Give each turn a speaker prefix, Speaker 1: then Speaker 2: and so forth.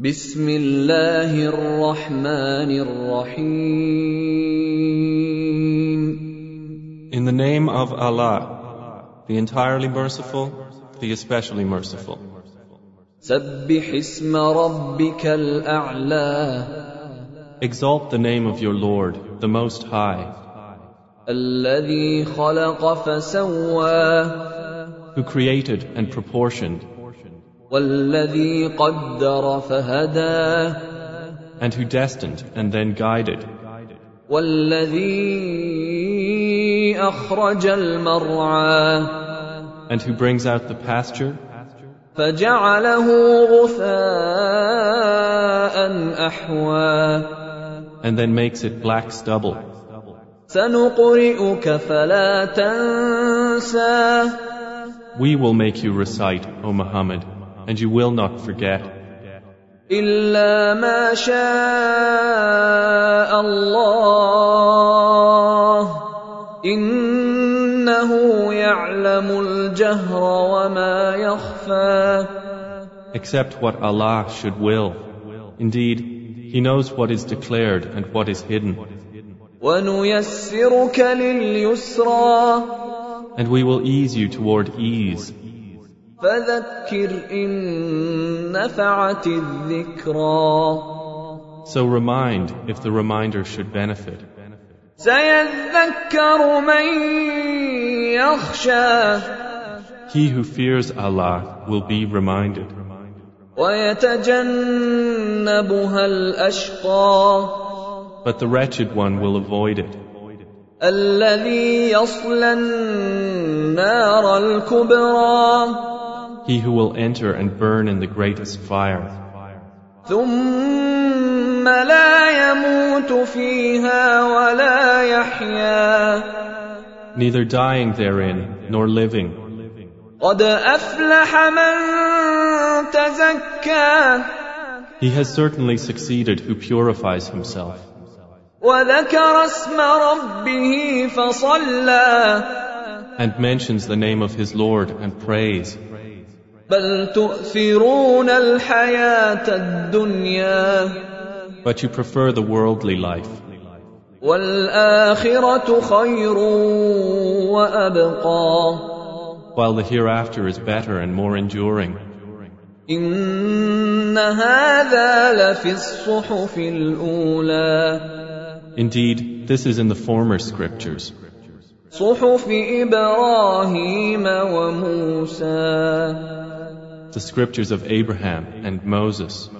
Speaker 1: بسم الله الرحمن الرحيم
Speaker 2: In the name of Allah, the entirely merciful, the especially merciful.
Speaker 1: سبح اسم ربك الأعلى
Speaker 2: Exalt the name of your Lord, the Most High,
Speaker 1: الذي خلق فسوى
Speaker 2: who created and proportioned,
Speaker 1: والذي قدر فهدى
Speaker 2: and who destined and then guided,
Speaker 1: والذي أخرج المرعى
Speaker 2: and who brings out the pasture,
Speaker 1: فجعله غثاء أحوى
Speaker 2: and then makes it black stubble.
Speaker 1: سنقرئك فلا تنسى
Speaker 2: We will make you recite, O Muhammad, and you will not forget,
Speaker 1: إلا ما شاء الله إنه يعلم الجهر وما يخفى
Speaker 2: except what Allah should will. Indeed, He knows what is declared and what is hidden.
Speaker 1: ونيسرك لليسرى
Speaker 2: and we will ease you toward ease.
Speaker 1: فذكر إن نفعت الذكرى
Speaker 2: So remind if the reminder should benefit.
Speaker 1: سيذكر من يخشى
Speaker 2: He who fears Allah will be reminded,
Speaker 1: ويتجنبها الأشقى
Speaker 2: but the wretched one will avoid it,
Speaker 1: الذي يصلى النار الكبرى
Speaker 2: he who will enter and burn in the greatest fire,
Speaker 1: ثم لا يموت فيها ولا يحيا
Speaker 2: neither dying therein nor living.
Speaker 1: قد أفلح من تزكى
Speaker 2: He has certainly succeeded who purifies himself
Speaker 1: وذكر اسم ربه فصلى
Speaker 2: and mentions the name of his Lord and prays.
Speaker 1: بل تؤثرون الحياة الدنيا
Speaker 2: But you prefer the worldly life,
Speaker 1: والآخرة خير وأبقى
Speaker 2: while the hereafter is better and more enduring.
Speaker 1: إن هذا لفي الصحف الأولى
Speaker 2: Indeed, this is in the former scriptures,
Speaker 1: صحف إبراهيم وموسى
Speaker 2: the scriptures of Abraham and Moses.